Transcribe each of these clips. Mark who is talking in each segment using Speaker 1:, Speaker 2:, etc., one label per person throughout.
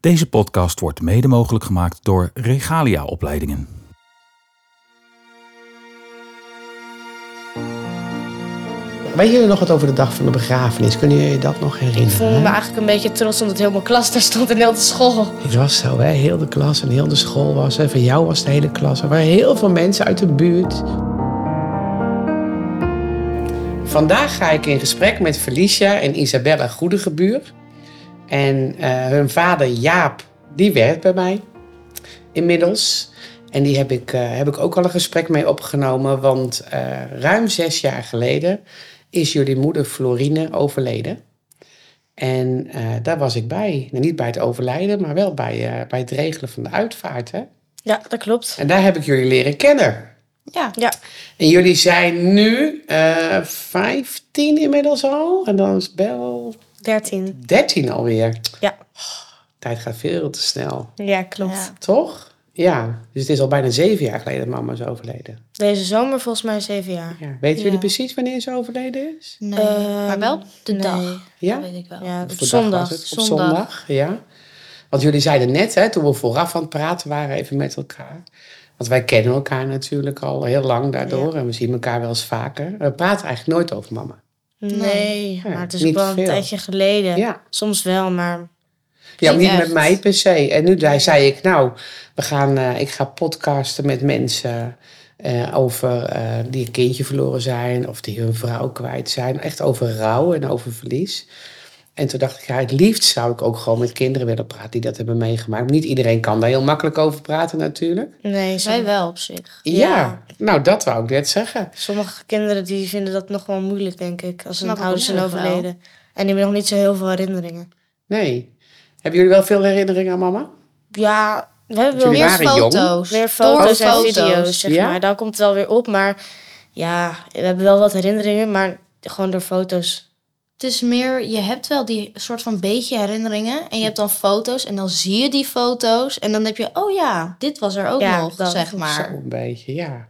Speaker 1: Deze podcast wordt mede mogelijk gemaakt door Regalia Opleidingen.
Speaker 2: Weet jullie nog wat over de dag van de begrafenis? Kunnen jullie dat nog
Speaker 3: Ik
Speaker 2: herinneren?
Speaker 3: voelde me eigenlijk een beetje trots omdat heel mijn klas daar stond en heel de school.
Speaker 2: Het was zo, hè? Heel de klas en heel de school was er. Van jou was de hele klas. Er waren heel veel mensen uit de buurt. Vandaag ga ik in gesprek met Felicia en Isabella Goedegebuur. En eh, hun vader Jaap, die werkt bij mij inmiddels. En die heb ik, eh, heb ik ook al een gesprek mee opgenomen. Want eh, ruim zes jaar geleden is jullie moeder Florine overleden. En eh, daar was ik bij. Nou, niet bij het overlijden, maar wel bij, eh, bij het regelen van de uitvaart. Hè?
Speaker 3: Ja, dat klopt.
Speaker 2: En daar heb ik jullie leren kennen.
Speaker 3: Ja. ja.
Speaker 2: En jullie zijn nu eh 15 inmiddels al. En dan is Bel
Speaker 3: 13.
Speaker 2: 13 alweer.
Speaker 3: Ja.
Speaker 2: Tijd gaat veel te snel,
Speaker 3: Ja, klopt.
Speaker 2: toch? Ja, dus het is al bijna zeven jaar geleden dat mama is overleden.
Speaker 3: Deze zomer volgens mij 7 jaar.
Speaker 2: Ja. Weten jullie
Speaker 4: Ja.
Speaker 2: precies wanneer ze overleden is?
Speaker 4: Nee,
Speaker 3: Ehm,
Speaker 4: maar wel op de
Speaker 3: nee.
Speaker 4: dag.
Speaker 2: Ja?
Speaker 4: Dat weet ik wel.
Speaker 3: Ja, op
Speaker 2: Of de Oh, dag
Speaker 3: zondag.
Speaker 2: was het? Op
Speaker 4: zondag.
Speaker 2: zondag, ja. Want jullie zeiden net, hè, toen we vooraf aan het praten waren, even met elkaar. Want wij kennen elkaar natuurlijk al heel lang daardoor. En we zien elkaar wel eens vaker. We praten eigenlijk nooit over mama.
Speaker 3: Nee,
Speaker 2: Ja,
Speaker 3: maar het is
Speaker 2: niet
Speaker 3: ook wel
Speaker 2: veel.
Speaker 3: een tijdje geleden.
Speaker 2: Ja.
Speaker 3: Soms wel, maar
Speaker 2: Ja, maar niet
Speaker 4: echt.
Speaker 2: met mij per se. En nu daar zei ik, nou, we gaan, eh, ik ga podcasten met mensen eh, over eh, die een kindje verloren zijn of die hun vrouw kwijt zijn. Echt over rouw en over verlies. En toen dacht ik, ja, het liefst zou ik ook gewoon met kinderen willen praten die dat hebben meegemaakt. Niet iedereen kan daar heel makkelijk over praten natuurlijk.
Speaker 3: nee. som-
Speaker 4: Wij wel op zich.
Speaker 2: Ja, nou dat wou ik net zeggen.
Speaker 3: Sommige kinderen die vinden dat nog wel moeilijk, denk ik. Als hun
Speaker 4: Snap ik
Speaker 3: ouders zijn
Speaker 4: ook wel.
Speaker 3: overleden. En die hebben nog niet zo heel veel herinneringen.
Speaker 2: Nee. Hebben jullie wel veel herinneringen aan mama?
Speaker 3: Ja, we hebben wel
Speaker 2: Jullie
Speaker 4: Meer
Speaker 2: waren jong.
Speaker 4: foto's.
Speaker 3: Meer foto's en
Speaker 4: Foto's.
Speaker 3: video's, zeg
Speaker 2: Ja?
Speaker 3: maar. Daar komt het wel weer op. Maar ja, we hebben wel wat herinneringen, maar gewoon door foto's.
Speaker 4: Het is meer, je hebt wel die soort van beetje herinneringen. En je hebt dan foto's en dan zie je die foto's. En dan heb je, oh ja, dit was er ook
Speaker 3: Ja,
Speaker 4: nog,
Speaker 3: dat.
Speaker 4: zeg maar.
Speaker 2: Zo'n beetje, ja.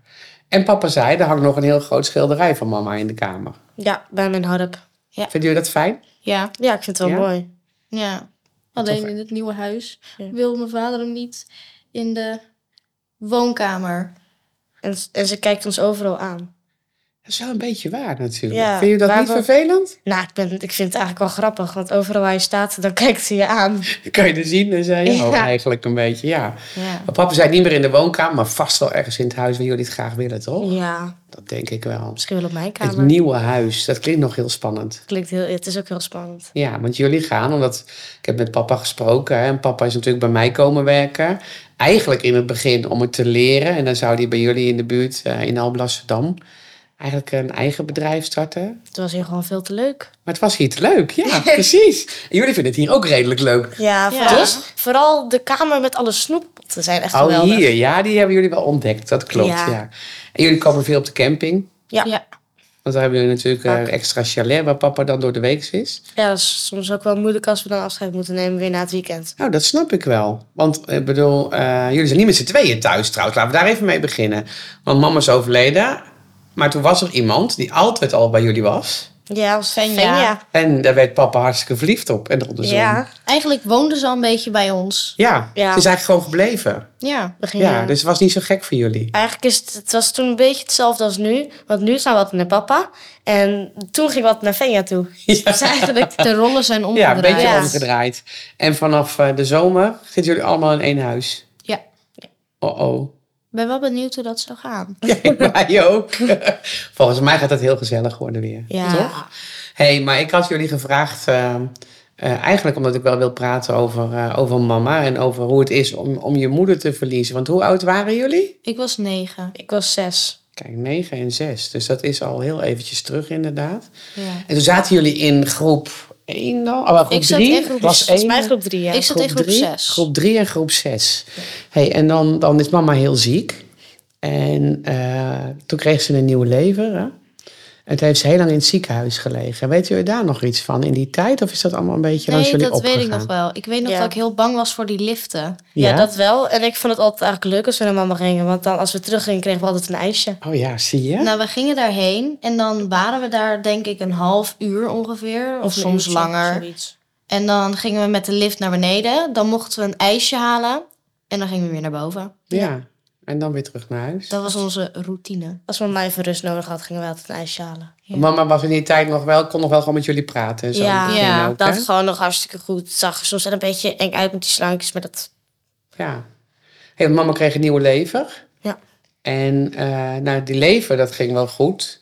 Speaker 2: En papa zei, er hangt nog een heel groot schilderij van mama in de kamer.
Speaker 3: Ja, bij mijn harp.
Speaker 2: Vinden jullie dat fijn?
Speaker 4: Ja,
Speaker 3: Ja, ik vind het wel
Speaker 2: Ja?
Speaker 3: mooi.
Speaker 4: ja. Alleen in het nieuwe huis
Speaker 3: Ja.
Speaker 4: wil mijn vader hem niet in de woonkamer.
Speaker 3: En, en ze kijkt ons overal aan.
Speaker 2: Dat is wel een beetje waar natuurlijk.
Speaker 3: Ja,
Speaker 2: Vind je dat
Speaker 3: waar
Speaker 2: niet
Speaker 3: we-
Speaker 2: vervelend?
Speaker 3: Nou, ik, ben, ik vind het eigenlijk wel grappig, want overal waar je staat, dan kijkt ze je aan.
Speaker 2: Kan je er zien en zei je,
Speaker 3: Ja.
Speaker 2: oh, eigenlijk een beetje, ja.
Speaker 4: Ja.
Speaker 2: Maar papa zei niet meer in de woonkamer, maar vast wel ergens in het huis waar jullie het graag willen, toch?
Speaker 3: Ja,
Speaker 2: Dat denk ik wel.
Speaker 3: misschien wel op mijn
Speaker 2: Het
Speaker 3: kamer.
Speaker 2: nieuwe huis, dat klinkt nog heel spannend.
Speaker 3: Klinkt heel, het is ook heel spannend.
Speaker 2: Ja, want jullie gaan, omdat ik heb met papa gesproken hè, en papa is natuurlijk bij mij komen werken. Eigenlijk in het begin om het te leren en dan zou hij bij jullie in de buurt eh, in Alblasserdam eigenlijk een eigen bedrijf starten.
Speaker 3: Het was hier gewoon veel te leuk.
Speaker 2: Maar het was hier te leuk, ja, precies. En jullie vinden het hier ook redelijk leuk.
Speaker 3: Ja, Dus,
Speaker 4: vooral-
Speaker 3: Vooral, de kamer met alle snoeppotten zijn echt
Speaker 2: Oh,
Speaker 3: geweldig.
Speaker 2: hier, ja, die hebben jullie wel ontdekt. Dat klopt, ja.
Speaker 3: Ja.
Speaker 2: En jullie komen veel op de camping.
Speaker 3: Ja.
Speaker 4: Ja.
Speaker 2: Want daar hebben jullie natuurlijk
Speaker 3: Vaak.
Speaker 2: eh, een extra chalet waar papa dan door de week is.
Speaker 3: Ja, dat is soms ook wel moeilijk als we dan afscheid moeten nemen weer na het weekend.
Speaker 2: Nou, dat snap ik wel. Want ik bedoel, eh, jullie zijn niet met z'n tweeën thuis trouwens. Laten we daar even mee beginnen. Want mama is overleden. Maar toen was er iemand die altijd al bij jullie was.
Speaker 3: Ja, als
Speaker 4: Fijn,
Speaker 3: fijn,
Speaker 4: ja.
Speaker 3: ja.
Speaker 2: En daar werd papa hartstikke verliefd op en andersom.
Speaker 3: Ja,
Speaker 4: Eigenlijk woonden ze al een beetje bij ons.
Speaker 2: Ja,
Speaker 3: Ja.
Speaker 2: ze is eigenlijk gewoon gebleven.
Speaker 4: Ja.
Speaker 3: we gingen-
Speaker 2: Ja, dus het was niet zo gek voor jullie.
Speaker 3: Eigenlijk is het, het was toen een beetje hetzelfde als nu. Want nu zijn we altijd naar papa. En toen ging wat naar Fenja toe.
Speaker 4: Dus eigenlijk de rollen zijn
Speaker 2: Ja,
Speaker 4: omgedraaid.
Speaker 2: een beetje
Speaker 3: Ja.
Speaker 2: omgedraaid. En vanaf eh, de zomer zitten jullie allemaal in één huis.
Speaker 4: Ja.
Speaker 2: Oh oh.
Speaker 4: Ik ben wel benieuwd hoe dat zou gaan.
Speaker 2: Ja, mij ook. Volgens mij gaat dat heel gezellig worden weer.
Speaker 3: Ja.
Speaker 2: Toch? hey, maar ik had jullie gevraagd, eh, eh, eigenlijk omdat ik wel wil praten over, eh, over mama en over hoe het is om, om je moeder te verliezen. Want hoe oud waren jullie?
Speaker 4: Ik was negen.
Speaker 3: Ik was zes.
Speaker 2: Kijk, 9 en 6. Dus dat is al heel eventjes terug, inderdaad.
Speaker 4: Ja.
Speaker 2: En toen zaten jullie in groep 1 dan? Oh, groep
Speaker 4: Ik zat
Speaker 2: 3?
Speaker 4: in groep-
Speaker 2: was
Speaker 3: Volgens
Speaker 2: één.
Speaker 3: mij groep drie, ja.
Speaker 4: Ik zat in groep
Speaker 2: drie?
Speaker 4: zes.
Speaker 2: Groep 3 en groep 6. Hey, en dan, dan is mama heel ziek. En eh, toen kreeg ze een nieuwe lever. Hè? En toen heeft ze heel lang in het ziekenhuis gelegen. Weet jullie daar nog iets van in die tijd? Of is dat allemaal een beetje langs
Speaker 4: Nee,
Speaker 2: jullie
Speaker 4: dat weet ik
Speaker 2: opgegaan?
Speaker 4: nog wel. Ik weet nog
Speaker 3: Ja.
Speaker 4: dat ik heel bang was voor die liften.
Speaker 3: Ja,
Speaker 2: Ja?
Speaker 3: dat wel. En ik vond het altijd eigenlijk leuk als we naar mama gingen. Want dan als we teruggingen, kregen we altijd een ijsje.
Speaker 2: Oh ja, zie je?
Speaker 4: Nou, we gingen daarheen en dan waren we daar denk ik een half uur ongeveer. Of,
Speaker 3: een
Speaker 4: soms
Speaker 3: uurtje,
Speaker 4: langer.
Speaker 3: zoiets.
Speaker 4: En dan gingen we met de lift naar beneden. Dan mochten we een ijsje halen. En dan gingen we weer naar boven.
Speaker 2: Ja. En dan weer terug naar huis.
Speaker 4: Dat was onze routine.
Speaker 3: Als mijn mij even rust nodig had, gingen we altijd een ijsje halen.
Speaker 4: Ja.
Speaker 2: Mama was in die tijd nog wel, kon nog wel gewoon met jullie praten en zo.
Speaker 4: Ja.
Speaker 2: in het begin
Speaker 3: Ja,
Speaker 2: ook,
Speaker 3: dat
Speaker 2: hè?
Speaker 3: gewoon nog hartstikke goed. Zag er soms wel een beetje eng uit met die slankjes, maar dat...
Speaker 2: Ja. Hey, want mama kreeg een nieuwe lever.
Speaker 3: Ja.
Speaker 2: En eh, nou, die lever, dat ging wel goed.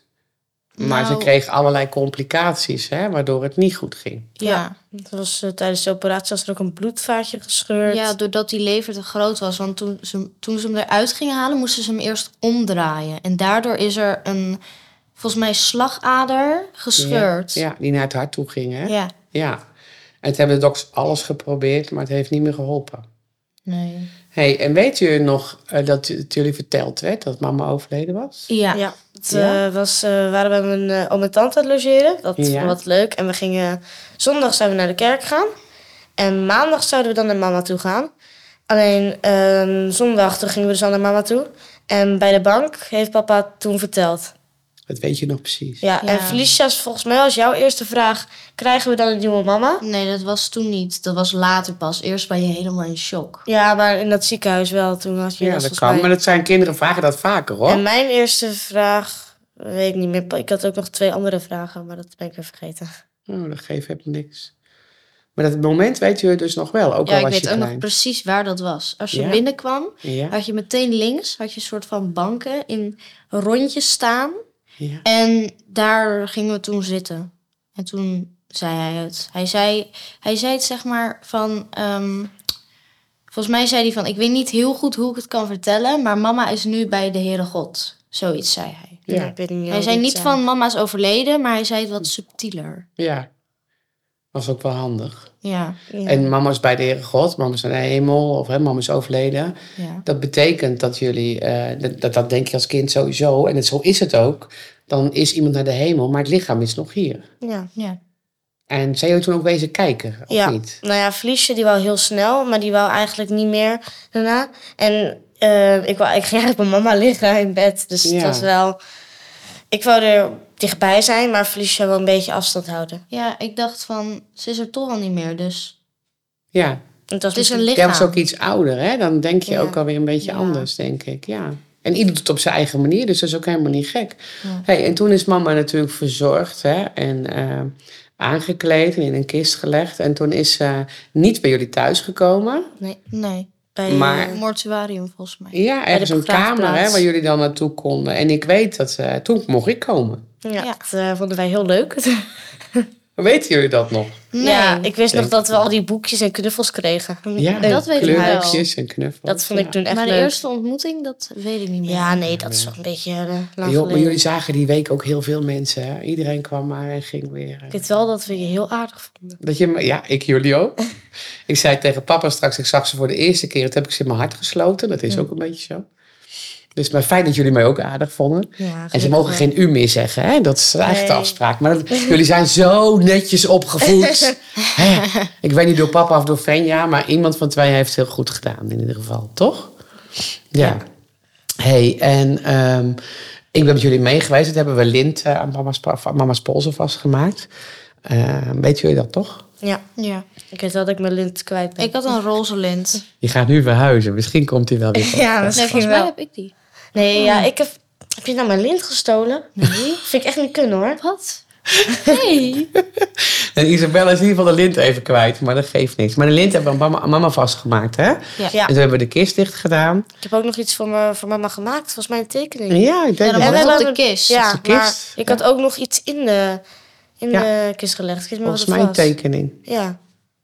Speaker 2: Maar
Speaker 4: Nou.
Speaker 2: ze kreeg allerlei complicaties, hè, waardoor het niet goed ging.
Speaker 4: Ja.
Speaker 3: Dat was eh, tijdens de operatie was er ook een bloedvaatje
Speaker 4: Ja.
Speaker 3: gescheurd.
Speaker 4: doordat die lever te groot was. Want toen ze, toen ze hem eruit gingen halen, moesten ze hem eerst omdraaien. En daardoor is er een, volgens mij, slagader gescheurd.
Speaker 2: Ja, die naar het hart toe ging, hè? Ja.
Speaker 4: Ja.
Speaker 2: En toen hebben de dokters alles geprobeerd, maar het heeft niet meer geholpen.
Speaker 4: Nee.
Speaker 2: hey, en weet u nog eh, dat het jullie verteld werd dat mama overleden was?
Speaker 4: Ja.
Speaker 3: Ja, het,
Speaker 2: Ja?
Speaker 3: eh, was, eh, we waren bij mijn eh, oom en tante aan het logeren. Dat
Speaker 2: Ja.
Speaker 3: was wat leuk. En we gingen... Zondag zijn we naar de kerk gaan. En maandag zouden we dan naar mama toe gaan. Alleen eh, zondag toen gingen we dus al naar mama toe. En bij de bank heeft papa toen verteld.
Speaker 2: Dat weet je nog precies.
Speaker 3: Ja,
Speaker 4: Ja.
Speaker 3: en Felicia's volgens mij als jouw eerste vraag... Krijgen we dan een nieuwe mama?
Speaker 4: Nee, dat was toen niet. Dat was later pas. Eerst ben je helemaal in shock.
Speaker 3: Ja, maar in dat ziekenhuis wel. Toen had je
Speaker 2: Ja, dat kan. Maar dat zijn kinderen vragen dat vaker, hoor.
Speaker 3: En mijn eerste vraag... Weet ik niet meer. Ik had ook nog twee andere vragen, maar dat ben ik weer vergeten.
Speaker 2: Oh, dat geeft helemaal niks. Maar dat moment weet je dus nog wel, ook
Speaker 4: Ja,
Speaker 2: al
Speaker 4: ik
Speaker 2: was
Speaker 4: weet
Speaker 2: je
Speaker 4: ook nog
Speaker 2: klein.
Speaker 4: precies waar dat was. Als je
Speaker 2: Ja?
Speaker 4: binnenkwam,
Speaker 2: Ja,
Speaker 4: had je meteen links had je een soort van banken in rondjes staan.
Speaker 2: ja.
Speaker 4: En daar gingen we toen zitten. En toen zei hij het. Hij zei, hij zei het zeg maar van... ehm, volgens mij zei hij van... Ik weet niet heel goed hoe ik het kan vertellen... maar mama is nu bij de Heere God. Zoiets zei hij.
Speaker 2: Ja.
Speaker 3: Nee, ik weet niet
Speaker 4: hij
Speaker 3: hoe
Speaker 4: zei
Speaker 3: dit
Speaker 4: niet van mama is overleden... maar hij zei het wat subtieler.
Speaker 2: ja. Was ook wel handig.
Speaker 4: Ja,
Speaker 3: Ja.
Speaker 2: En mama is bij de Heere God, mama is naar de hemel, of hè, mama is overleden.
Speaker 4: ja.
Speaker 2: Dat betekent dat jullie, eh, dat, dat, dat denk je als kind sowieso, en het, zo is het ook, dan is iemand naar de hemel, maar het lichaam is nog hier.
Speaker 3: Ja.
Speaker 4: ja.
Speaker 2: En zijn jullie toen ook wezen kijken, of
Speaker 3: Ja.
Speaker 2: niet?
Speaker 3: Nou ja, Felicia die wou heel snel, maar die wou eigenlijk niet meer daarna. En eh, ik, wou, ik ging eigenlijk bij mama liggen in bed. Dus
Speaker 2: Ja.
Speaker 3: het was wel... Ik wou er dichtbij zijn, maar Felicia wil een beetje afstand houden.
Speaker 4: ja, ik dacht van... ze is er toch al niet meer, dus...
Speaker 2: Ja,
Speaker 3: Het was
Speaker 4: Het is een
Speaker 3: misschien-
Speaker 4: lichaam.
Speaker 2: jij was ook iets ouder, hè? Dan denk je
Speaker 3: Ja.
Speaker 2: ook alweer een beetje
Speaker 4: Ja.
Speaker 2: anders, denk ik, ja. En ieder doet het op zijn eigen manier, dus dat is ook helemaal niet gek.
Speaker 4: Ja.
Speaker 2: Hey, en toen is mama natuurlijk verzorgd hè, en eh, aangekleed en in een kist gelegd. En toen is ze niet bij jullie thuis gekomen.
Speaker 3: Nee,
Speaker 4: Nee,
Speaker 3: bij,
Speaker 2: Maar-
Speaker 3: eh,
Speaker 4: mortuarium volgens mij.
Speaker 2: Ja, ergens een
Speaker 3: begraafplaats.
Speaker 2: kamer hè, waar jullie dan naartoe konden. En ik weet dat eh, toen mocht ik komen.
Speaker 3: ja,
Speaker 4: Ja.
Speaker 3: dat eh, vonden wij heel leuk.
Speaker 2: Weten jullie dat nog?
Speaker 4: Nee,
Speaker 3: Ja, ik wist nog
Speaker 2: Denk
Speaker 3: dat we al die boekjes en knuffels kregen.
Speaker 2: Ja,
Speaker 4: dat weet ik wel.
Speaker 2: kleurtjes en knuffels.
Speaker 3: Dat vond ik toen echt
Speaker 4: maar de
Speaker 3: leuk.
Speaker 4: eerste ontmoeting, dat weet ik niet meer.
Speaker 3: Ja, nee, dat is toch een beetje eh, lang
Speaker 2: Joh, maar
Speaker 3: geleden.
Speaker 2: jullie zagen die week ook heel veel mensen. Hè? Iedereen kwam maar en ging weer. eh.
Speaker 3: Ik weet wel dat we je heel aardig vonden.
Speaker 2: Dat je, me- ja, ik jullie ook. ik zei tegen papa straks, ik zag ze voor de eerste keer. Dat heb ik ze in mijn hart gesloten. Dat is ook een beetje zo. Dus maar fijn dat jullie mij ook aardig vonden.
Speaker 3: Ja,
Speaker 2: En ze mogen geen u meer zeggen, hè? dat is echt de
Speaker 3: Nee.
Speaker 2: afspraak. Maar dat- jullie zijn zo netjes opgevoed. Hè? Ik weet niet door papa of door Fenja, maar iemand van twee heeft het heel goed gedaan in ieder geval, toch? Ja. hey, en ehm, ik ben met jullie mee geweest. Dat hebben we lint eh, aan mama's, pa- van mama's polsen vastgemaakt. Eh weet jullie dat toch?
Speaker 3: Ja,
Speaker 4: Ja.
Speaker 3: ik weet wel dat ik mijn lint kwijt ben.
Speaker 4: Ik had een roze lint.
Speaker 2: Je gaat nu verhuizen. Misschien komt hij wel weer. terug.
Speaker 3: Ja,
Speaker 4: Nee,
Speaker 3: misschien
Speaker 4: volgens mij
Speaker 3: wel.
Speaker 4: heb ik die.
Speaker 3: Nee, ja, ik heb... Heb je nou mijn lint gestolen?
Speaker 4: Nee.
Speaker 3: Vind ik echt niet kunnen, hoor.
Speaker 4: Wat? Nee.
Speaker 2: En Isabella is in ieder geval de lint even kwijt, maar dat geeft niks. Maar de lint hebben we aan mama, aan mama vastgemaakt, hè?
Speaker 3: Ja,
Speaker 2: En toen hebben we de kist dicht gedaan.
Speaker 3: ik heb ook nog iets voor, me, voor mama gemaakt. Volgens mij een tekening.
Speaker 2: Ja, ik denk
Speaker 4: Ja, dat
Speaker 2: het
Speaker 4: was
Speaker 2: wel.
Speaker 3: wij
Speaker 4: op de
Speaker 3: hebben-
Speaker 4: kist.
Speaker 3: Ja,
Speaker 2: de kist,
Speaker 3: maar ik had ook nog iets in de, in
Speaker 2: Ja.
Speaker 3: de kist gelegd. Ik weet niet meer
Speaker 2: Volgens
Speaker 3: wat
Speaker 2: mij een
Speaker 3: het was.
Speaker 2: tekening,
Speaker 3: Ja.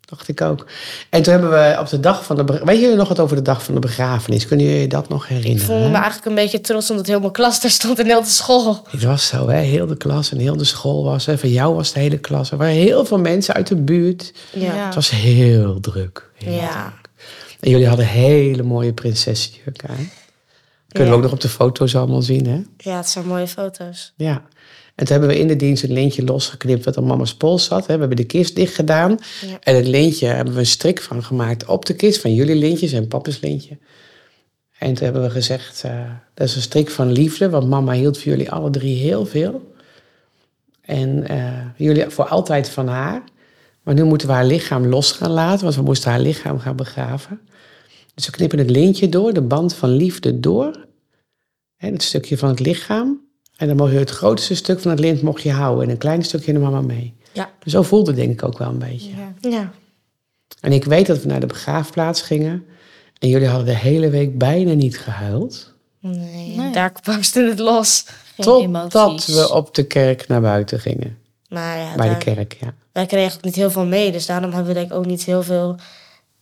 Speaker 2: dacht ik ook. En toen hebben we op de dag van de... be- Weet jullie nog wat over de dag van de begrafenis? Kunnen jullie je dat nog
Speaker 3: Ik voelde
Speaker 2: herinneren?
Speaker 3: me
Speaker 2: hè?
Speaker 3: eigenlijk een beetje trots omdat heel mijn klas daar stond en heel de school.
Speaker 2: Het was zo, hè? Heel de klas en heel de school was er. Van jou was de hele klas. Er waren heel veel mensen uit de buurt.
Speaker 3: Ja.
Speaker 4: Ja.
Speaker 2: Het was heel druk. Heel
Speaker 3: Ja.
Speaker 2: druk. En jullie hadden hele mooie prinsessenjurk aan. Kunnen
Speaker 3: Ja.
Speaker 2: we ook nog op de foto's allemaal zien, hè?
Speaker 3: Ja, het zijn mooie foto's.
Speaker 2: Ja. En toen hebben we in de dienst een lintje losgeknipt wat aan mama's pols zat. hè. We hebben de kist dicht gedaan.
Speaker 3: Ja.
Speaker 2: En het lintje hebben we een strik van gemaakt op de kist van jullie lintjes en papa's lintje. En toen hebben we gezegd, eh, dat is een strik van liefde, want mama hield voor jullie alle drie heel veel. En eh, jullie voor altijd van haar. Maar nu moeten we haar lichaam los gaan laten, want we moesten haar lichaam gaan begraven. Dus we knippen het lintje door, de band van liefde door. Hè, het stukje van het lichaam. En dan mocht je het grootste stuk van het lint mocht je houden. En een klein stukje de mama mee. Dus
Speaker 4: Ja.
Speaker 2: Zo voelde het denk ik ook wel een beetje.
Speaker 4: Ja.
Speaker 3: Ja.
Speaker 2: En ik weet dat we naar de begraafplaats gingen. En jullie hadden de hele week bijna niet gehuild.
Speaker 3: Nee,
Speaker 4: Nee.
Speaker 3: daar barstte het los.
Speaker 4: Geen
Speaker 2: Totdat
Speaker 4: emoties.
Speaker 2: we op de kerk naar buiten gingen.
Speaker 3: Maar ja,
Speaker 2: Bij de
Speaker 3: daar-
Speaker 2: kerk, ja.
Speaker 3: wij kregen ook niet heel veel mee. Dus daarom hebben we denk ik ook niet heel veel...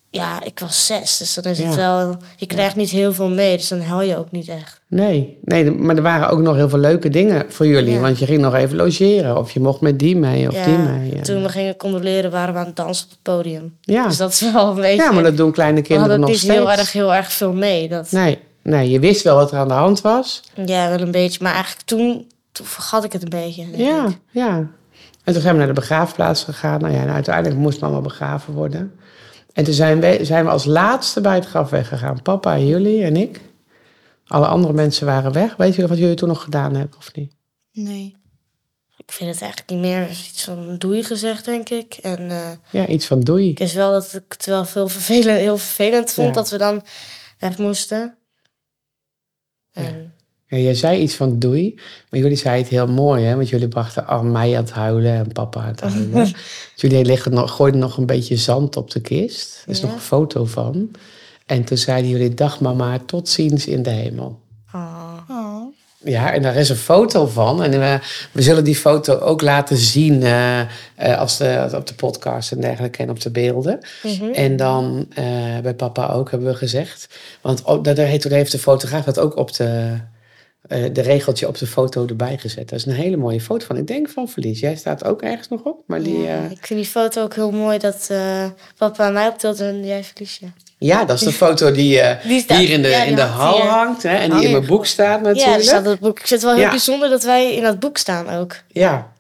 Speaker 3: Ja, ik was zes, dus dan is
Speaker 2: Ja.
Speaker 3: het wel... Je krijgt niet heel veel mee, dus dan huil je ook niet echt.
Speaker 2: Nee, nee, maar er waren ook nog heel veel leuke dingen voor jullie.
Speaker 3: Ja.
Speaker 2: Want je ging nog even logeren. Of je mocht met die mee of die mee. Ja,
Speaker 3: Toen we gingen condoleren waren we aan het dansen op het podium.
Speaker 2: ja.
Speaker 3: Dus dat is wel een beetje...
Speaker 2: ja maar dat doen kleine
Speaker 3: we
Speaker 2: kinderen
Speaker 3: hadden ook
Speaker 2: nog
Speaker 3: niet
Speaker 2: steeds.
Speaker 3: heel erg, heel erg veel mee. Dat,
Speaker 2: Nee, nee, je wist wel wat er aan de hand was.
Speaker 3: Ja, wel een beetje. Maar eigenlijk toen, toen vergat ik het een beetje. denk
Speaker 2: Ja,
Speaker 3: ik.
Speaker 2: ja. En toen zijn we naar de begraafplaats gegaan. Nou ja, en uiteindelijk moest mama begraven worden. En toen zijn we, zijn we als laatste bij het graf weggegaan. Papa en jullie en ik. Alle andere mensen waren weg. Weet je wat jullie toen nog gedaan hebben of niet?
Speaker 4: Nee.
Speaker 3: Ik vind het eigenlijk niet meer iets van doei gezegd, denk ik. En eh,
Speaker 2: Ja, iets van doei.
Speaker 3: ik wist wel dat ik het wel veel vervelend, heel vervelend vond
Speaker 2: Ja.
Speaker 3: dat we dan weg moesten. En,
Speaker 2: Ja, jij zei iets van doei, maar jullie zei het heel mooi, hè? Want jullie brachten al mij aan het huilen en papa aan het huilen. Dus jullie legden nog, gooiden nog een beetje zand op de kist. Er is
Speaker 3: Ja.
Speaker 2: nog een foto van. En toen zeiden jullie, dag mama, tot ziens in de hemel.
Speaker 3: oh.
Speaker 4: Oh.
Speaker 2: Ja, en daar is een foto van. En we, we zullen die foto ook laten zien eh, eh, als de, op de podcast en dergelijke en op de beelden.
Speaker 3: Mhm.
Speaker 2: En dan eh, bij papa ook, hebben we gezegd. Want ook, dat daar heeft, toen heeft de fotograaf dat ook op de, eh, de regeltje op de foto erbij gezet. Dat is een hele mooie foto van. Ik denk van Verlies. Jij staat ook ergens nog op. Maar die,
Speaker 3: Ja,
Speaker 2: eh,
Speaker 3: ik vind die foto ook heel mooi dat eh, papa mij optilt en jij verliesje.
Speaker 2: ja, dat is de foto die, eh,
Speaker 3: Die staat-
Speaker 2: hier in de,
Speaker 3: ja, die
Speaker 2: in de
Speaker 3: hangt
Speaker 2: hal
Speaker 3: hier.
Speaker 2: hangt. Hè, en
Speaker 3: Oh,
Speaker 2: die in
Speaker 3: ja.
Speaker 2: mijn boek staat
Speaker 3: Ja,
Speaker 2: natuurlijk.
Speaker 3: er staat in het boek. Ik vind het wel heel
Speaker 2: Ja.
Speaker 3: bijzonder dat wij in dat boek staan ook.
Speaker 2: Ja.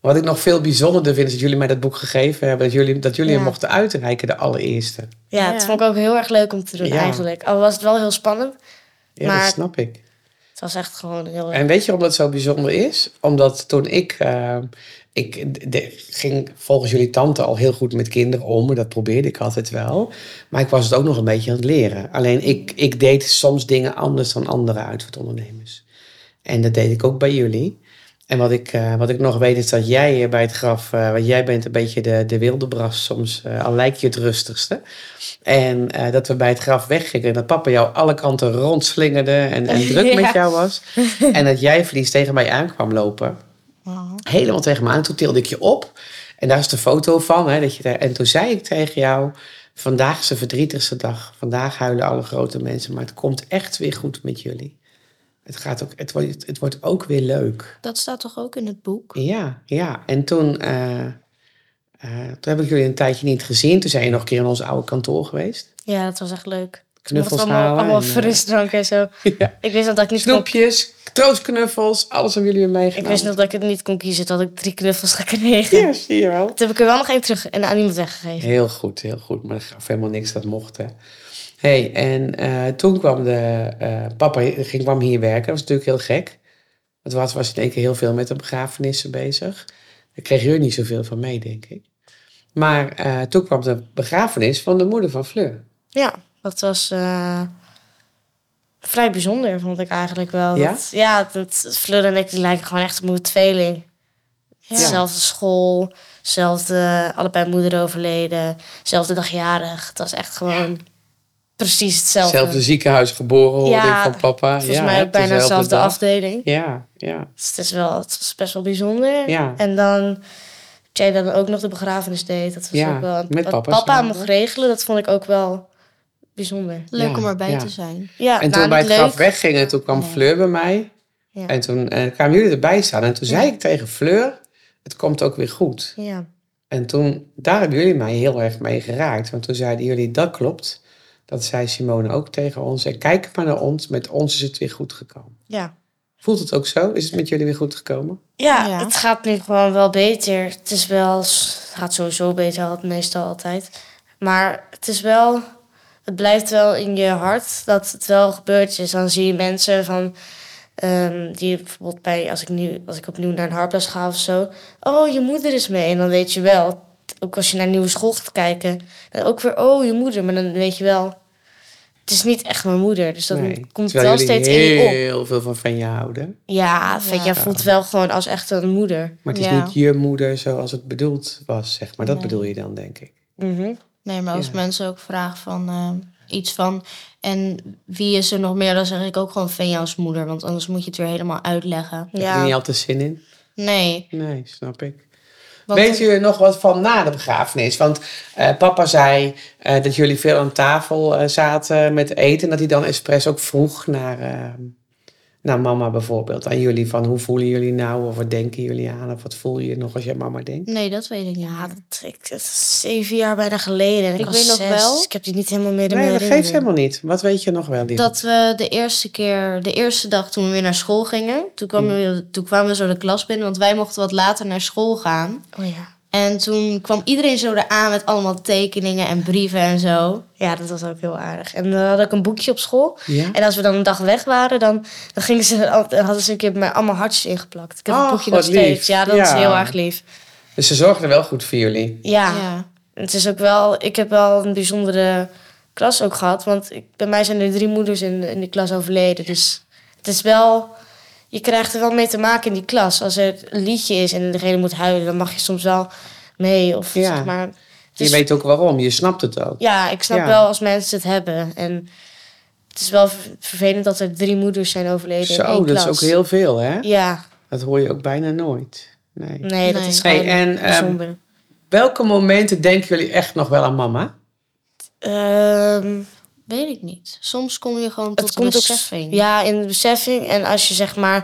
Speaker 2: Wat ik nog veel bijzonderder vind, is dat jullie mij dat boek gegeven hebben. Dat jullie, dat jullie
Speaker 3: Ja.
Speaker 2: hem mochten uitreiken, de allereerste.
Speaker 3: Ja,
Speaker 4: Ja.
Speaker 3: dat vond ik ook heel erg leuk om te doen
Speaker 2: Ja.
Speaker 3: eigenlijk. Al was het wel heel spannend.
Speaker 2: Ja,
Speaker 3: Maar-
Speaker 2: dat snap ik.
Speaker 3: Het was echt gewoon heel erg...
Speaker 2: En weet je waarom dat zo bijzonder is? Omdat toen ik... eh, ik de- ging volgens jullie tante al heel goed met kinderen om. en Dat probeerde ik altijd wel. Maar ik was het ook nog een beetje aan het leren. Alleen ik, ik deed soms dingen anders dan anderen uitvaartondernemers. En dat deed ik ook bij jullie. En wat ik, eh, wat ik nog weet is dat jij hier bij het graf... eh, want jij bent een beetje de, de wilde bras soms. eh, al lijkt je het rustigste. En eh, dat we bij het graf weggingen. En dat papa jou alle kanten rondslingerde. En, en druk met
Speaker 3: Ja.
Speaker 2: jou was. En dat jij verlies tegen mij aankwam lopen
Speaker 4: Oh.
Speaker 2: helemaal tegen me aan. Toen tilde ik je op. En daar is de foto van. Hè, dat je daar, en toen zei ik tegen jou... Vandaag is de verdrietigste dag. Vandaag huilen alle grote mensen. Maar het komt echt weer goed met jullie. Het, gaat ook, het, wordt, het wordt ook weer leuk.
Speaker 4: Dat staat toch ook in het boek?
Speaker 2: Ja, ja. En toen, eh, eh, toen heb ik jullie een tijdje niet gezien. Toen zijn je nog een keer in ons oude kantoor geweest.
Speaker 3: Ja, dat was echt leuk. Mocht
Speaker 2: Knuffels
Speaker 3: allemaal,
Speaker 2: halen.
Speaker 3: allemaal
Speaker 2: en, eh,
Speaker 3: frisdrank en zo.
Speaker 2: Ja.
Speaker 3: Ik wist nog dat ik niet kon,
Speaker 2: Snoepjes, troostknuffels. Alles hebben jullie weer
Speaker 3: ik
Speaker 2: meegenomen.
Speaker 3: wist nog dat ik het niet kon kiezen, dat ik drie knuffels gekregen.
Speaker 2: Ja, zie je wel.
Speaker 3: Toen heb ik er wel nog één terug en aan iemand weggegeven.
Speaker 2: Heel goed, heel goed. Maar dat gaf helemaal niks, dat mocht hè. hey, en eh, toen kwam de, eh, papa ging, kwam hier werken. Dat was natuurlijk heel gek. Want was, was in één keer heel veel met de begrafenissen bezig. Daar kregen jullie niet zoveel van mee, denk ik. Maar eh, toen kwam de begrafenis van de moeder van Fleur.
Speaker 3: Ja, dat was eh, vrij bijzonder, vond ik eigenlijk wel.
Speaker 2: Ja?
Speaker 3: Dat, ja, dat, Fleur en ik die lijken gewoon echt op mijn tweeling. Zelfde school, zelfde, allebei moeder overleden, zelfde dag jarig. Het was echt gewoon precies hetzelfde.
Speaker 2: Hetzelfde ziekenhuis geboren, hoorde
Speaker 3: Ja,
Speaker 2: ik van papa.
Speaker 3: Volgens
Speaker 2: ja,
Speaker 3: mij ook bijna
Speaker 2: dezelfde
Speaker 3: dezelfde
Speaker 2: dag.
Speaker 3: afdeling.
Speaker 2: Ja, ja,
Speaker 3: Dus het, is wel, het was best wel bijzonder.
Speaker 2: ja.
Speaker 3: En dan dat jij dan ook nog de begrafenis deed. Dat was
Speaker 2: Ja,
Speaker 3: ook wel.
Speaker 2: met
Speaker 3: dat
Speaker 2: papa
Speaker 3: papa
Speaker 2: samen.
Speaker 3: mocht regelen, dat vond ik ook wel bijzonder.
Speaker 4: Leuk
Speaker 2: Ja,
Speaker 4: om erbij
Speaker 2: ja.
Speaker 4: te zijn.
Speaker 3: Ja,
Speaker 2: En
Speaker 3: nou,
Speaker 2: toen bij
Speaker 3: niet
Speaker 2: het graf
Speaker 3: leuk.
Speaker 2: weggingen, toen kwam
Speaker 4: Nee.
Speaker 2: Fleur bij mij.
Speaker 3: Ja.
Speaker 2: En toen eh, kwamen jullie erbij staan. En toen zei
Speaker 3: Ja.
Speaker 2: ik tegen Fleur, het komt ook weer goed.
Speaker 3: Ja.
Speaker 2: En toen, daar hebben jullie mij heel erg mee geraakt. Want toen zeiden jullie, dat klopt. Dat zei Simone ook tegen ons. En kijk maar naar ons, met ons is het weer goed gekomen.
Speaker 3: Ja.
Speaker 2: Voelt het ook zo? Is het met jullie weer goed gekomen?
Speaker 3: Ja,
Speaker 4: Ja.
Speaker 3: Ah, het gaat nu gewoon wel beter. Het is wel, het gaat sowieso beter, al- meestal altijd. Maar het is wel, het blijft wel in je hart dat het wel gebeurd is. Dan zie je mensen van, ehm, die bijvoorbeeld bij, als ik, nu, als ik opnieuw naar een harples ga of zo. Oh, je moeder is mee. En dan weet je wel, t- ook als je naar een nieuwe school gaat kijken, dan ook weer, oh, je moeder. Maar dan weet je wel, het is niet echt mijn moeder. Dus dat
Speaker 2: Nee.
Speaker 3: komt
Speaker 2: Terwijl
Speaker 3: wel
Speaker 2: jullie
Speaker 3: steeds in je op.
Speaker 2: heel veel van Fenja houden.
Speaker 3: Ja, vind
Speaker 4: Ja.
Speaker 3: jij voelt wel gewoon als echt een moeder.
Speaker 2: Maar het is
Speaker 4: Ja.
Speaker 2: niet je moeder zoals het bedoeld was, zeg maar. Dat
Speaker 4: Nee.
Speaker 2: bedoel je dan, denk ik.
Speaker 3: Mhm.
Speaker 4: Nee, maar als
Speaker 2: Ja.
Speaker 4: mensen ook vragen van eh, iets van... en wie is er nog meer, dan zeg ik ook gewoon Venja's moeder. Want anders moet je het weer helemaal uitleggen.
Speaker 2: Heb je
Speaker 3: Ja.
Speaker 2: niet altijd zin in?
Speaker 4: Nee.
Speaker 2: Nee, snap ik.
Speaker 4: want
Speaker 2: Weet u er nog wat van na de begrafenis? Want eh, papa zei eh, dat jullie veel aan tafel eh, zaten met eten. En dat hij dan expres ook vroeg naar, eh, naar mama bijvoorbeeld. Aan jullie van hoe voelen jullie nou? Of wat denken jullie aan? Of wat voel je nog als je aan mama denkt?
Speaker 4: Nee, dat weet ik niet.
Speaker 3: Ja, Ah, dat, ik, dat is zeven jaar bijna geleden. En ik,
Speaker 4: Ik
Speaker 3: was
Speaker 4: weet nog
Speaker 3: zes,
Speaker 4: wel-
Speaker 3: dus ik heb die niet helemaal meer in
Speaker 2: Nee,
Speaker 3: mijn
Speaker 2: dat geeft
Speaker 3: herinnering.
Speaker 2: helemaal niet. Wat weet je nog wel, lief?
Speaker 4: Dat we de eerste keer, de eerste dag toen we weer naar school gingen... toen
Speaker 3: Mm.
Speaker 4: kwamen, we, toen kwamen we zo de klas binnen, want wij mochten wat later naar school gaan.
Speaker 3: Oh ja.
Speaker 4: En toen kwam iedereen zo eraan met allemaal tekeningen en brieven en zo.
Speaker 3: Ja, dat was ook heel aardig. En dan had ik een boekje op school.
Speaker 2: Ja?
Speaker 3: En als we dan een dag weg waren, dan, dan, gingen ze, al- dan hadden ze een keer bij mij allemaal hartjes ingeplakt. Ik heb
Speaker 2: Oh,
Speaker 3: het boekje
Speaker 2: wat
Speaker 3: nog steeds.
Speaker 2: lief.
Speaker 3: Ja, dat is
Speaker 2: Ja.
Speaker 3: heel erg lief.
Speaker 2: Dus ze zorgden wel goed voor jullie.
Speaker 3: Ja. Het is ook wel, ik heb wel een bijzondere klas ook gehad. Want ik, bij mij zijn er drie moeders in, in die klas overleden. Dus het is wel, je krijgt er wel mee te maken in die klas. Als er een liedje is en degene moet huilen, dan mag je soms wel mee. Of
Speaker 2: Ja.
Speaker 3: zeg maar. het
Speaker 2: Je
Speaker 3: is-
Speaker 2: weet ook waarom. Je snapt het ook.
Speaker 3: Dus- Ja, ik snap
Speaker 2: Ja.
Speaker 3: wel als mensen het hebben. En het is wel ver- vervelend dat er drie moeders zijn overleden in
Speaker 2: Zo,
Speaker 3: één
Speaker 2: dat
Speaker 3: klas.
Speaker 2: is ook heel veel, hè?
Speaker 3: Ja, Mm.
Speaker 2: Dat hoor je ook bijna nooit. Nee.
Speaker 3: nee, dat
Speaker 4: Nee.
Speaker 3: is
Speaker 2: Hey,
Speaker 3: gewoon
Speaker 2: en ehm,
Speaker 3: bijzonder.
Speaker 2: welke momenten denken jullie echt nog wel aan mama?
Speaker 3: Ehm,
Speaker 4: Weet ik niet. Soms kom je gewoon
Speaker 3: het
Speaker 4: tot
Speaker 3: komt ook...
Speaker 4: beseffing.
Speaker 3: Ja, in de beseffing. En als je zeg maar...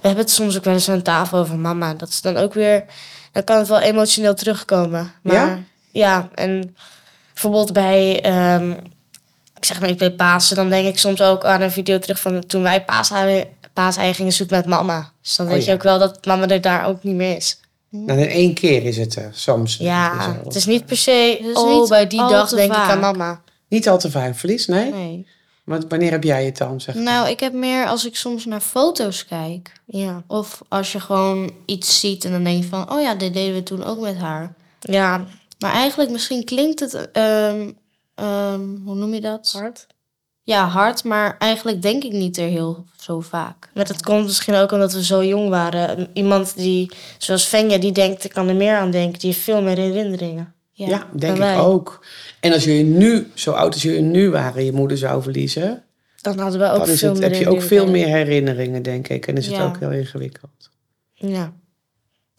Speaker 3: We hebben het soms ook wel eens aan tafel over mama. Dat is dan ook weer... Dan kan het wel emotioneel terugkomen. Maar,
Speaker 2: Ja?
Speaker 3: Ja, en bijvoorbeeld bij... ehm, ik zeg maar iets bij Pasen. Dan denk ik soms ook aan een video terug van toen wij paaseieren, paaseieren gingen zoeken met mama. Dus dan
Speaker 2: Oh,
Speaker 3: weet
Speaker 2: ja.
Speaker 3: je ook wel dat mama er daar ook niet meer is.
Speaker 2: Dan in Nou, één keer is het eh, er, soms.
Speaker 3: Ja,
Speaker 2: Zo.
Speaker 3: het is niet per se...
Speaker 4: Het is
Speaker 3: oh,
Speaker 4: niet
Speaker 3: bij die
Speaker 4: al
Speaker 3: dag
Speaker 4: te
Speaker 3: denk ik
Speaker 4: vaak.
Speaker 3: aan mama.
Speaker 2: Niet al te vaak verlies, nee?
Speaker 4: Nee.
Speaker 2: Want wanneer heb jij het dan, zeg
Speaker 4: Nou, ik heb meer als ik soms naar foto's kijk.
Speaker 3: Ja.
Speaker 4: Of als je gewoon iets ziet en dan denk je van... oh ja, dit deden we toen ook met haar.
Speaker 3: Ja.
Speaker 4: Maar eigenlijk misschien klinkt het... ehm, ehm, hoe noem je dat?
Speaker 3: Hard.
Speaker 4: Ja, hard. Maar eigenlijk denk ik niet er heel zo vaak.
Speaker 3: Maar dat komt misschien ook omdat we zo jong waren. Iemand die, zoals Fenja, die denkt, ik kan er meer aan denken. Die heeft veel meer herinneringen.
Speaker 4: Ja.
Speaker 2: Ja, denk ik
Speaker 3: bij mij.
Speaker 2: ook. En als jullie nu, zo oud als jullie nu waren, je moeder zou verliezen,
Speaker 3: Dan hadden we ook
Speaker 2: dan is
Speaker 3: veel
Speaker 2: het,
Speaker 3: meer
Speaker 2: heb je ook veel
Speaker 3: herinneringen.
Speaker 2: meer herinneringen, denk ik. En is het
Speaker 4: Ja.
Speaker 2: ook heel ingewikkeld.
Speaker 3: Ja.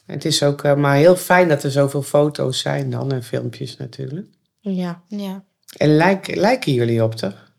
Speaker 2: En Het is ook eh, maar heel fijn dat er zoveel foto's zijn dan en filmpjes natuurlijk.
Speaker 3: Ja.
Speaker 4: ja.
Speaker 2: En lijken, lijken jullie op toch?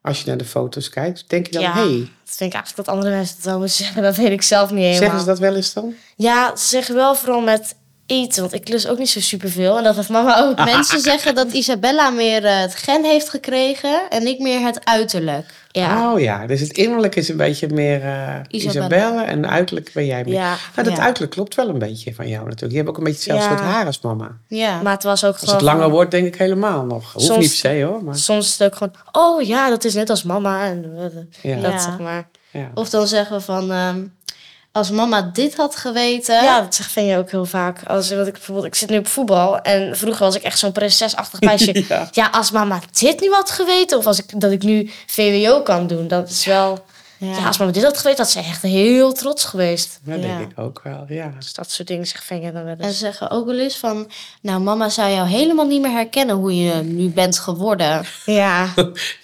Speaker 2: Als je naar de foto's kijkt, denk je dan,
Speaker 3: Ja,
Speaker 2: hey,
Speaker 3: Dat vind ik eigenlijk dat andere mensen het wel moeten zeggen. Dat weet ik zelf niet helemaal.
Speaker 2: zeggen ze dat wel eens dan?
Speaker 3: Ja, ze zeggen wel vooral met eten. Want ik lust ook niet zo superveel. En dat heeft mama
Speaker 2: Ah.
Speaker 3: ook.
Speaker 4: Mensen zeggen dat Isabella meer eh, het gen heeft gekregen... en ik meer het uiterlijk.
Speaker 3: Ja.
Speaker 2: Oh ja, dus het innerlijk is een beetje meer eh
Speaker 4: Isabelle.
Speaker 2: Isabelle en uiterlijk ben jij meer.
Speaker 3: Ja.
Speaker 2: Nou, dat
Speaker 4: Ja.
Speaker 2: uiterlijk klopt wel een beetje van jou natuurlijk. Je hebt ook een beetje hetzelfde
Speaker 3: Ja.
Speaker 2: soort haar als mama.
Speaker 4: Ja.
Speaker 3: Maar het was ook
Speaker 2: Als
Speaker 3: gewoon...
Speaker 2: het langer wordt, denk ik helemaal nog. Hoeft
Speaker 3: Soms-
Speaker 2: niet per se hoor, maar
Speaker 3: Soms is het ook gewoon... Oh ja, dat is net als mama. En eh,
Speaker 2: ja.
Speaker 3: dat
Speaker 4: Ja.
Speaker 3: zeg maar.
Speaker 2: ja.
Speaker 4: Of dan zeggen we van... ehm, als mama dit had geweten...
Speaker 3: Ja, dat zegt Fenja ook heel vaak. Als, wat ik, bijvoorbeeld, ik zit nu op voetbal en vroeger was ik echt zo'n prinsesachtig meisje. ja. als mama dit nu had geweten of als ik, dat ik nu VWO kan doen, dat is wel... Ja. als mama dit had geweten, had ze echt heel trots geweest.
Speaker 2: Dat denk
Speaker 4: ja.
Speaker 2: ik ook wel, ja.
Speaker 3: Dus dat soort dingen zegt Fenja dan wel
Speaker 4: En
Speaker 3: eens.
Speaker 4: ze zeggen ook wel eens van... Nou, mama zou jou helemaal niet meer herkennen hoe je nu bent geworden.
Speaker 3: Ja,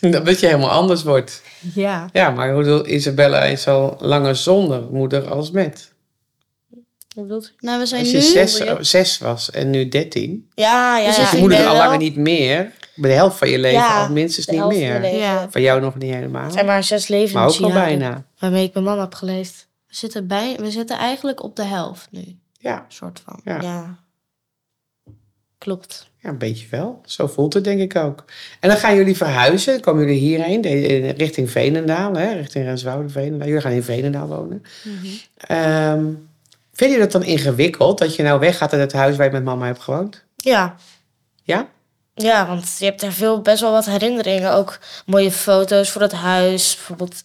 Speaker 2: Dat je helemaal anders wordt.
Speaker 4: Ja.
Speaker 2: Ja, maar ik bedoel, Isabella is al langer zonder moeder als met.
Speaker 3: Wat bedoelt u?
Speaker 4: Nou, we zijn
Speaker 2: Als
Speaker 4: nu...
Speaker 2: je zes, zes was en nu dertien,
Speaker 3: Ja, ja,
Speaker 4: Dus
Speaker 3: ja.
Speaker 4: het
Speaker 2: je
Speaker 4: ik
Speaker 2: moeder
Speaker 4: ben
Speaker 2: al
Speaker 4: wel-
Speaker 2: langer niet meer. Bij de helft van je leven
Speaker 3: Ja,
Speaker 2: al minstens
Speaker 3: de
Speaker 2: niet
Speaker 3: helft van
Speaker 2: meer.
Speaker 3: mijn leven.
Speaker 4: Ja.
Speaker 2: Van jou nog niet helemaal.
Speaker 3: Het zijn maar zes levens
Speaker 2: Maar ook al bijna.
Speaker 3: waarmee ik mijn man heb geleefd.
Speaker 4: We zitten, bij, we zitten eigenlijk op de helft nu,
Speaker 2: Ja,
Speaker 4: soort van.
Speaker 2: ja.
Speaker 3: Ja.
Speaker 2: ja.
Speaker 3: Klopt.
Speaker 2: een beetje wel. Zo voelt het denk ik ook. En dan gaan jullie verhuizen. Dan komen jullie hierheen, de- eh, richting Veenendaal. Hè? Richting Renswoude, Veenendaal. Jullie gaan in Veenendaal wonen. Ehm, vind je dat dan ingewikkeld? Dat je nou weggaat uit het huis waar je met mama hebt gewoond?
Speaker 3: Ja.
Speaker 2: Ja?
Speaker 3: Ja, want je hebt daar veel, best wel wat herinneringen. Ook mooie foto's voor het huis, bijvoorbeeld.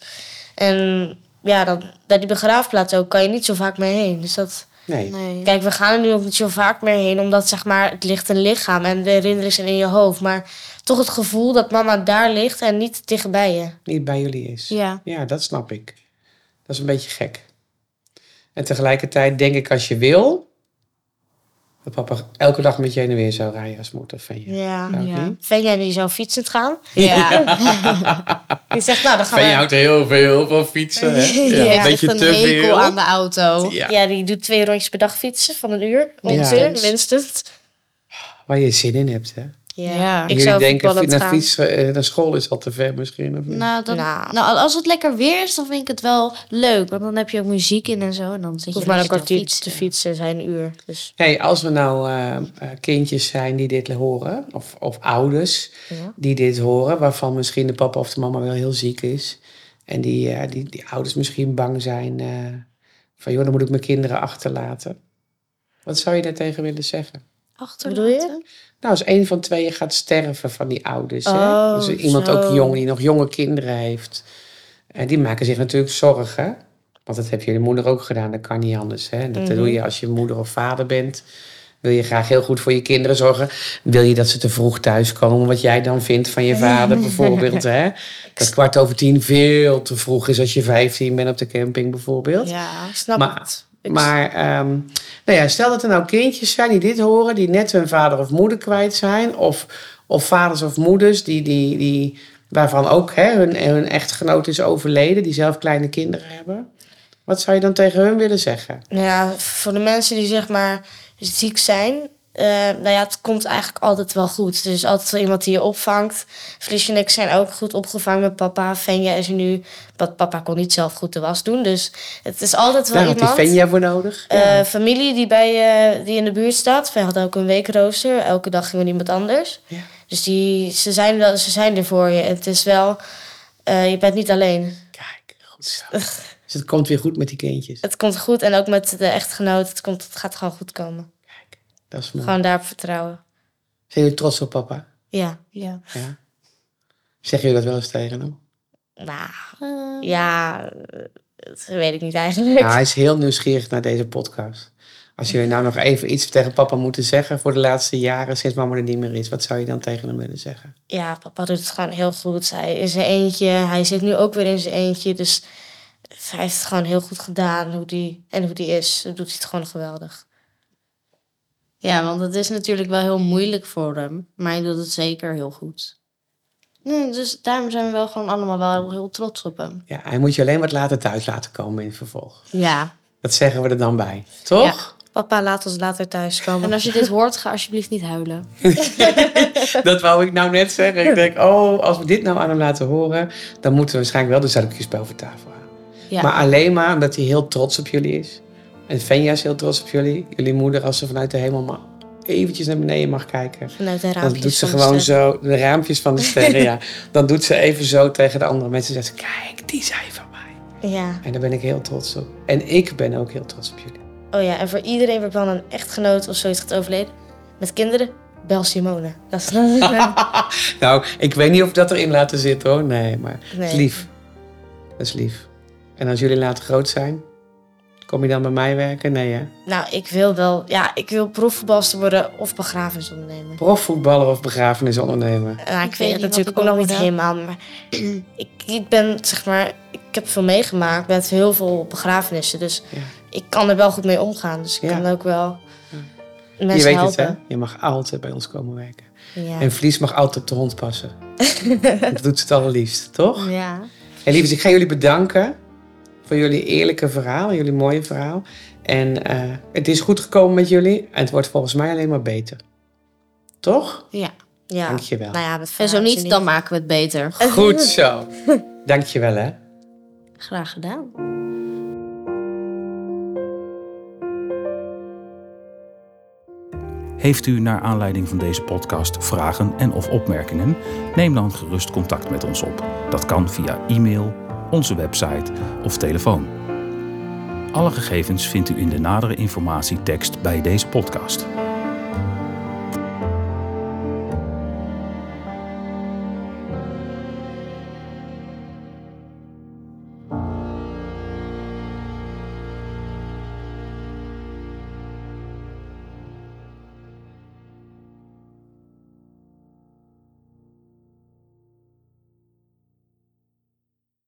Speaker 3: En ja, dan, bij die begraafplaats ook kan je niet zo vaak mee heen. Dus dat
Speaker 2: Nee.
Speaker 4: Nee.
Speaker 3: Kijk, we gaan er nu ook niet zo vaak meer heen, omdat zeg maar, het ligt een lichaam en de herinneringen zijn in je hoofd. Maar toch het gevoel dat mama daar ligt en niet dichtbij je.
Speaker 2: Niet bij jullie is.
Speaker 4: Ja.
Speaker 2: Ja, dat snap ik. Dat is een beetje gek. En tegelijkertijd denk ik als je wil... dat papa elke dag met je heen en weer zou rijden als moeder van je.
Speaker 3: Ja.
Speaker 2: Zou het
Speaker 4: Ja.
Speaker 2: niet?
Speaker 3: Vind jij nu zou fietsend gaan?
Speaker 4: Ja.
Speaker 3: Die zegt, nou, dan gaan
Speaker 2: Van je
Speaker 3: we...
Speaker 2: houdt heel veel van fietsen, hè?
Speaker 4: Ja,
Speaker 2: een beetje
Speaker 4: echt
Speaker 2: te
Speaker 4: een hekel
Speaker 2: veel.
Speaker 4: aan de auto.
Speaker 2: Ja.
Speaker 3: Ja, die doet twee rondjes per dag fietsen van een uur. Ongeveer,
Speaker 4: Ja.
Speaker 3: minstens.
Speaker 2: Waar je zin in hebt, hè?
Speaker 3: Ja.
Speaker 4: Ja.
Speaker 3: Ik
Speaker 2: Jullie
Speaker 3: zou
Speaker 2: denken,
Speaker 3: voetballend
Speaker 2: naar,
Speaker 3: gaan.
Speaker 2: fietsen, eh, naar school is al te ver misschien. Of niet?
Speaker 4: Nou, dan,
Speaker 3: Nou.
Speaker 4: nou. als het lekker weer is, dan vind ik het wel leuk. Want dan heb je ook muziek in en zo. En dan
Speaker 3: Ik
Speaker 4: zit je
Speaker 3: hoef maar een
Speaker 4: lekker te
Speaker 3: kwartier
Speaker 4: fietsen.
Speaker 3: te fietsen, zijn een uur. Dus
Speaker 2: Hey, als we nou eh, eh, kindjes zijn die dit horen, of, of ouders
Speaker 3: Ja.
Speaker 2: die dit horen, waarvan misschien de papa of de mama wel heel ziek is. En die, eh, die, die ouders misschien bang zijn eh, van, joh, dan moet ik mijn kinderen achterlaten. Wat zou je daartegen willen zeggen?
Speaker 4: Achterlaten.
Speaker 3: Wat bedoel
Speaker 2: Nou, als een van tweeën gaat sterven van die ouders. hè?
Speaker 3: Oh,
Speaker 2: Dus iemand
Speaker 3: zo.
Speaker 2: ook jong, die nog jonge kinderen heeft. En die maken zich natuurlijk zorgen. Want dat heb jullie moeder ook gedaan, dat kan niet anders. Hè? En Dat
Speaker 3: Mhm.
Speaker 2: doe je als je moeder of vader bent. Wil je graag heel goed voor je kinderen zorgen. Wil je dat ze te vroeg thuiskomen, wat jij dan vindt van je vader bijvoorbeeld. Hè? Dat kwart over tien veel te vroeg is als je 15 bent op de camping bijvoorbeeld.
Speaker 4: Ja.
Speaker 3: ik snap
Speaker 2: Maar-
Speaker 3: het. Ik-
Speaker 2: Maar ehm, nou ja, stel dat er nou kindjes zijn die dit horen, die net hun vader of moeder kwijt zijn. Of, of vaders of moeders die, die, die, waarvan ook hè, hun, hun echtgenoot is overleden, die zelf kleine kinderen hebben. Wat zou je dan tegen hun willen zeggen?
Speaker 3: Nou ja, voor de mensen die zeg maar ziek zijn, eh, nou ja, het komt eigenlijk altijd wel goed. Er is altijd wel iemand die je opvangt. Fries en ik zijn ook goed opgevangen met papa. Venja is er nu, want papa kon niet zelf goed de was doen. Dus het is altijd wel
Speaker 2: Daar had die
Speaker 3: iemand.
Speaker 2: Fenja voor nodig.
Speaker 3: Eh, familie die, bij, eh, die in de buurt staat. Wij hadden ook een weekrooster. Elke dag ging er iemand anders.
Speaker 2: Ja.
Speaker 3: Dus die, ze, zijn wel, ze zijn er voor je. Het is wel, eh, je bent niet alleen.
Speaker 2: Kijk, goed zo. Dus het komt weer goed met die kindjes.
Speaker 3: Het komt goed en ook met de echtgenoot. Het, komt, het gaat gewoon goed komen.
Speaker 2: Dat is mooi.
Speaker 3: Gewoon daarop vertrouwen.
Speaker 2: Zijn jullie trots op papa?
Speaker 3: Ja.
Speaker 4: Ja.
Speaker 2: Ja. Zeggen jullie dat wel eens tegen hem?
Speaker 3: Nou,
Speaker 4: Eh,
Speaker 3: ja, eh, dat weet ik niet eigenlijk.
Speaker 2: Ja, hij is heel nieuwsgierig naar deze podcast. Als jullie nou nog even iets tegen papa moeten zeggen voor de laatste jaren sinds mama er niet meer is, wat zou je dan tegen hem willen zeggen?
Speaker 3: Ja, papa doet het gewoon heel goed. Hij is zijn eentje. Hij zit nu ook weer in zijn eentje. Dus hij heeft het gewoon heel goed gedaan. Hoe die, en hoe die is, doet hij het gewoon geweldig.
Speaker 4: ja, want het is natuurlijk wel heel moeilijk voor hem. Maar hij doet het zeker heel goed. Nee, dus daarom zijn we wel gewoon allemaal wel heel trots op hem.
Speaker 2: Ja, hij moet je alleen wat later thuis laten komen in het vervolg.
Speaker 4: Ja.
Speaker 2: Dat zeggen we er dan bij, toch?
Speaker 3: Papa, laat ons later thuis komen.
Speaker 4: En als je dit hoort, ga alsjeblieft niet huilen.
Speaker 2: Dat wou ik nou net zeggen. Ik denk, oh, als we dit nou aan hem laten horen, dan moeten we waarschijnlijk wel de zakdoekjes boven tafel halen.
Speaker 4: Ja.
Speaker 2: Maar alleen maar omdat hij heel trots op jullie is. En Fenja is heel trots op jullie. Jullie moeder, als ze vanuit de hemel maar eventjes naar beneden mag kijken.
Speaker 3: Vanuit de
Speaker 2: Dan
Speaker 3: raampjes.
Speaker 2: doet ze
Speaker 3: van de
Speaker 2: gewoon
Speaker 3: sterren.
Speaker 2: zo, de raampjes van de sterren, ja. Dan doet ze even zo tegen de andere mensen. Zegt ze, kijk, die zijn van mij.
Speaker 3: Ja.
Speaker 2: En daar ben ik heel trots op. En ik ben ook heel trots op jullie.
Speaker 3: Oh ja, en voor iedereen waarvan een echtgenoot of zoiets gaat overleden. Met kinderen, bel Simone. Dat is
Speaker 2: Nou, ik weet niet of ik dat erin laten zitten hoor. Nee, maar het is
Speaker 3: Nee.
Speaker 2: lief. Dat is lief. En als jullie later groot zijn, kom je dan bij mij werken? Nee hè?
Speaker 3: Nou, ik wil wel... Ja, ik wil profvoetbalster worden of begrafenisondernemer.
Speaker 2: Profvoetballer of begrafenisondernemer?
Speaker 3: Nou, ik,
Speaker 4: Ik
Speaker 3: weet
Speaker 4: weet
Speaker 3: het
Speaker 4: niet
Speaker 3: natuurlijk ook
Speaker 4: wat ik
Speaker 3: nog niet
Speaker 4: wil
Speaker 3: helemaal, maar ik, ik ben zeg maar, ik heb veel meegemaakt met heel veel begrafenissen, dus
Speaker 2: Ja.
Speaker 3: ik kan er wel goed mee omgaan, dus ik
Speaker 2: Ja.
Speaker 3: kan ook wel mensen
Speaker 2: Je weet het
Speaker 3: helpen.
Speaker 2: hè? Je mag altijd bij ons komen werken.
Speaker 3: Ja.
Speaker 2: En Vlies mag altijd op de hond passen. dat doet ze het allerliefst, toch?
Speaker 4: Ja.
Speaker 2: Hey, lievers, ik ga jullie bedanken voor jullie eerlijke verhaal, jullie mooie verhaal. En eh, het is goed gekomen met jullie en het wordt volgens mij alleen maar beter. Toch?
Speaker 4: ja.
Speaker 3: ja.
Speaker 2: Dankjewel.
Speaker 3: Nou ja, met
Speaker 4: En zo
Speaker 3: verhaaltje
Speaker 4: niet, dan maken we het beter.
Speaker 2: Goed zo. Dankjewel hè.
Speaker 4: Graag gedaan.
Speaker 1: Heeft u naar aanleiding van deze podcast vragen en of opmerkingen? Neem dan gerust contact met ons op. Dat kan via e-mail, onze website of telefoon. Alle gegevens vindt u in de nadere informatietekst bij deze podcast.